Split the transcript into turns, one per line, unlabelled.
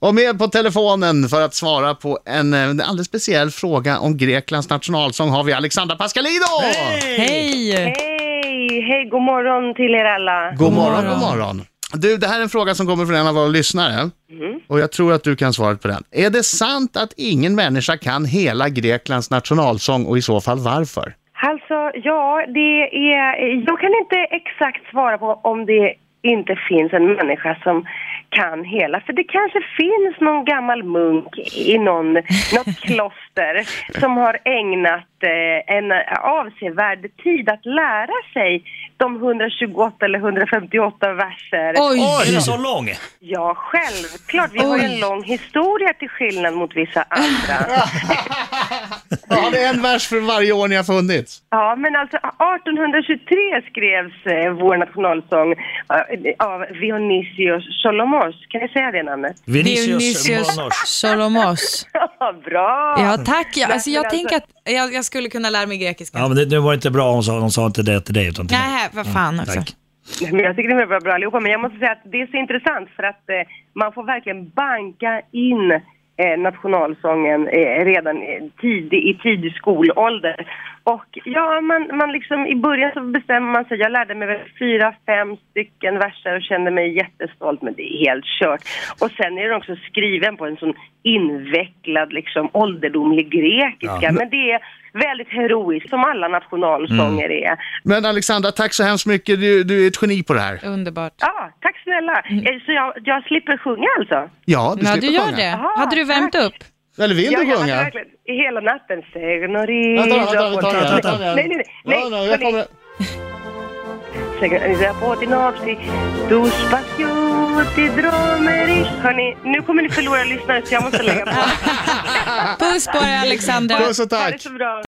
Och med på telefonen för att svara på en, eh, en alldeles speciell fråga om Greklands nationalsång har vi Alexandra Pascalido!
Hej!
Hej, hej, god morgon till er alla.
God morgon,
morgon.
god morgon. Du, det här är en fråga som kommer från en av våra lyssnare. Och jag tror att du kan svaret på den. Är det sant att ingen människa kan hela Greklands nationalsång och i så fall varför?
Alltså, ja, det är... Jag kan inte exakt svara på om det inte finns en människa som kan hela, för det kanske finns någon gammal munk i någon, något kloster som har ägnat eh, en avsevärd tid att lära sig de 128 eller 158 verser.
Oj!
Oj, är det så lång?
Ja, självklart. Vi har ju en
Oj.
lång historia till skillnad mot vissa andra.
Ja, det är en vers för varje år ni har funnits.
Ja, men alltså 1823 skrevs eh, vår nationalsång eh, av Dionysios Solomos. Kan jag säga det namnet?
Dionysios Solomos.
Ja, Bra!
Ja, tack. Jag,
Nej,
alltså,
men
jag
alltså-
tänker att jag, jag skulle kunna lära mig grekiska.
Ja, men det, det var inte bra hon sa, hon sa inte det till dig utan till mig.
Nej, vad fan också.
Tack.
Nej, Men jag tycker det är bra, bra allihopa, men jag måste säga att det är så intressant för att eh, man får verkligen banka in eh, nationalsången eh, redan eh, tidig, i tidig skolålder. Och ja, man, man liksom, i början så bestämmer man sig, jag lärde mig väl fyra, fem stycken verser och kände mig jättestolt, men det är helt kört. Och sen är den också skriven på en sån invecklad, liksom ålderdomlig grekiska, men det är väldigt heroiskt som alla nationalsånger är.
Men Alexandra, tack så hemskt mycket. Du, du är ett geni på det här.
Underbart.
Ja, tack snälla.
Mm.
Eh, Så jag, jag slipper sjunga alltså?
Ja, du
Ja,
slipper
du gör
sjunga.
det.
Aha,
Hade du värmt
tack.
upp?
Eller vill
Ja,
du
jag
sjunga?
har verkligen hela natten. Segnorido.
Vänta, vänta, vi tar det här, vi tar det här.
Nej, nej, nej.
Ja,
nej,
nej, jag
nej.
kommer...
Segnorido potinopsi. Du spaciuti dromeris. Hörni, nu kommer ni förlora lyssnare så jag måste lägga på.
Puss på dig Alexandra.
Puss och
Ha
tack!
det så bra.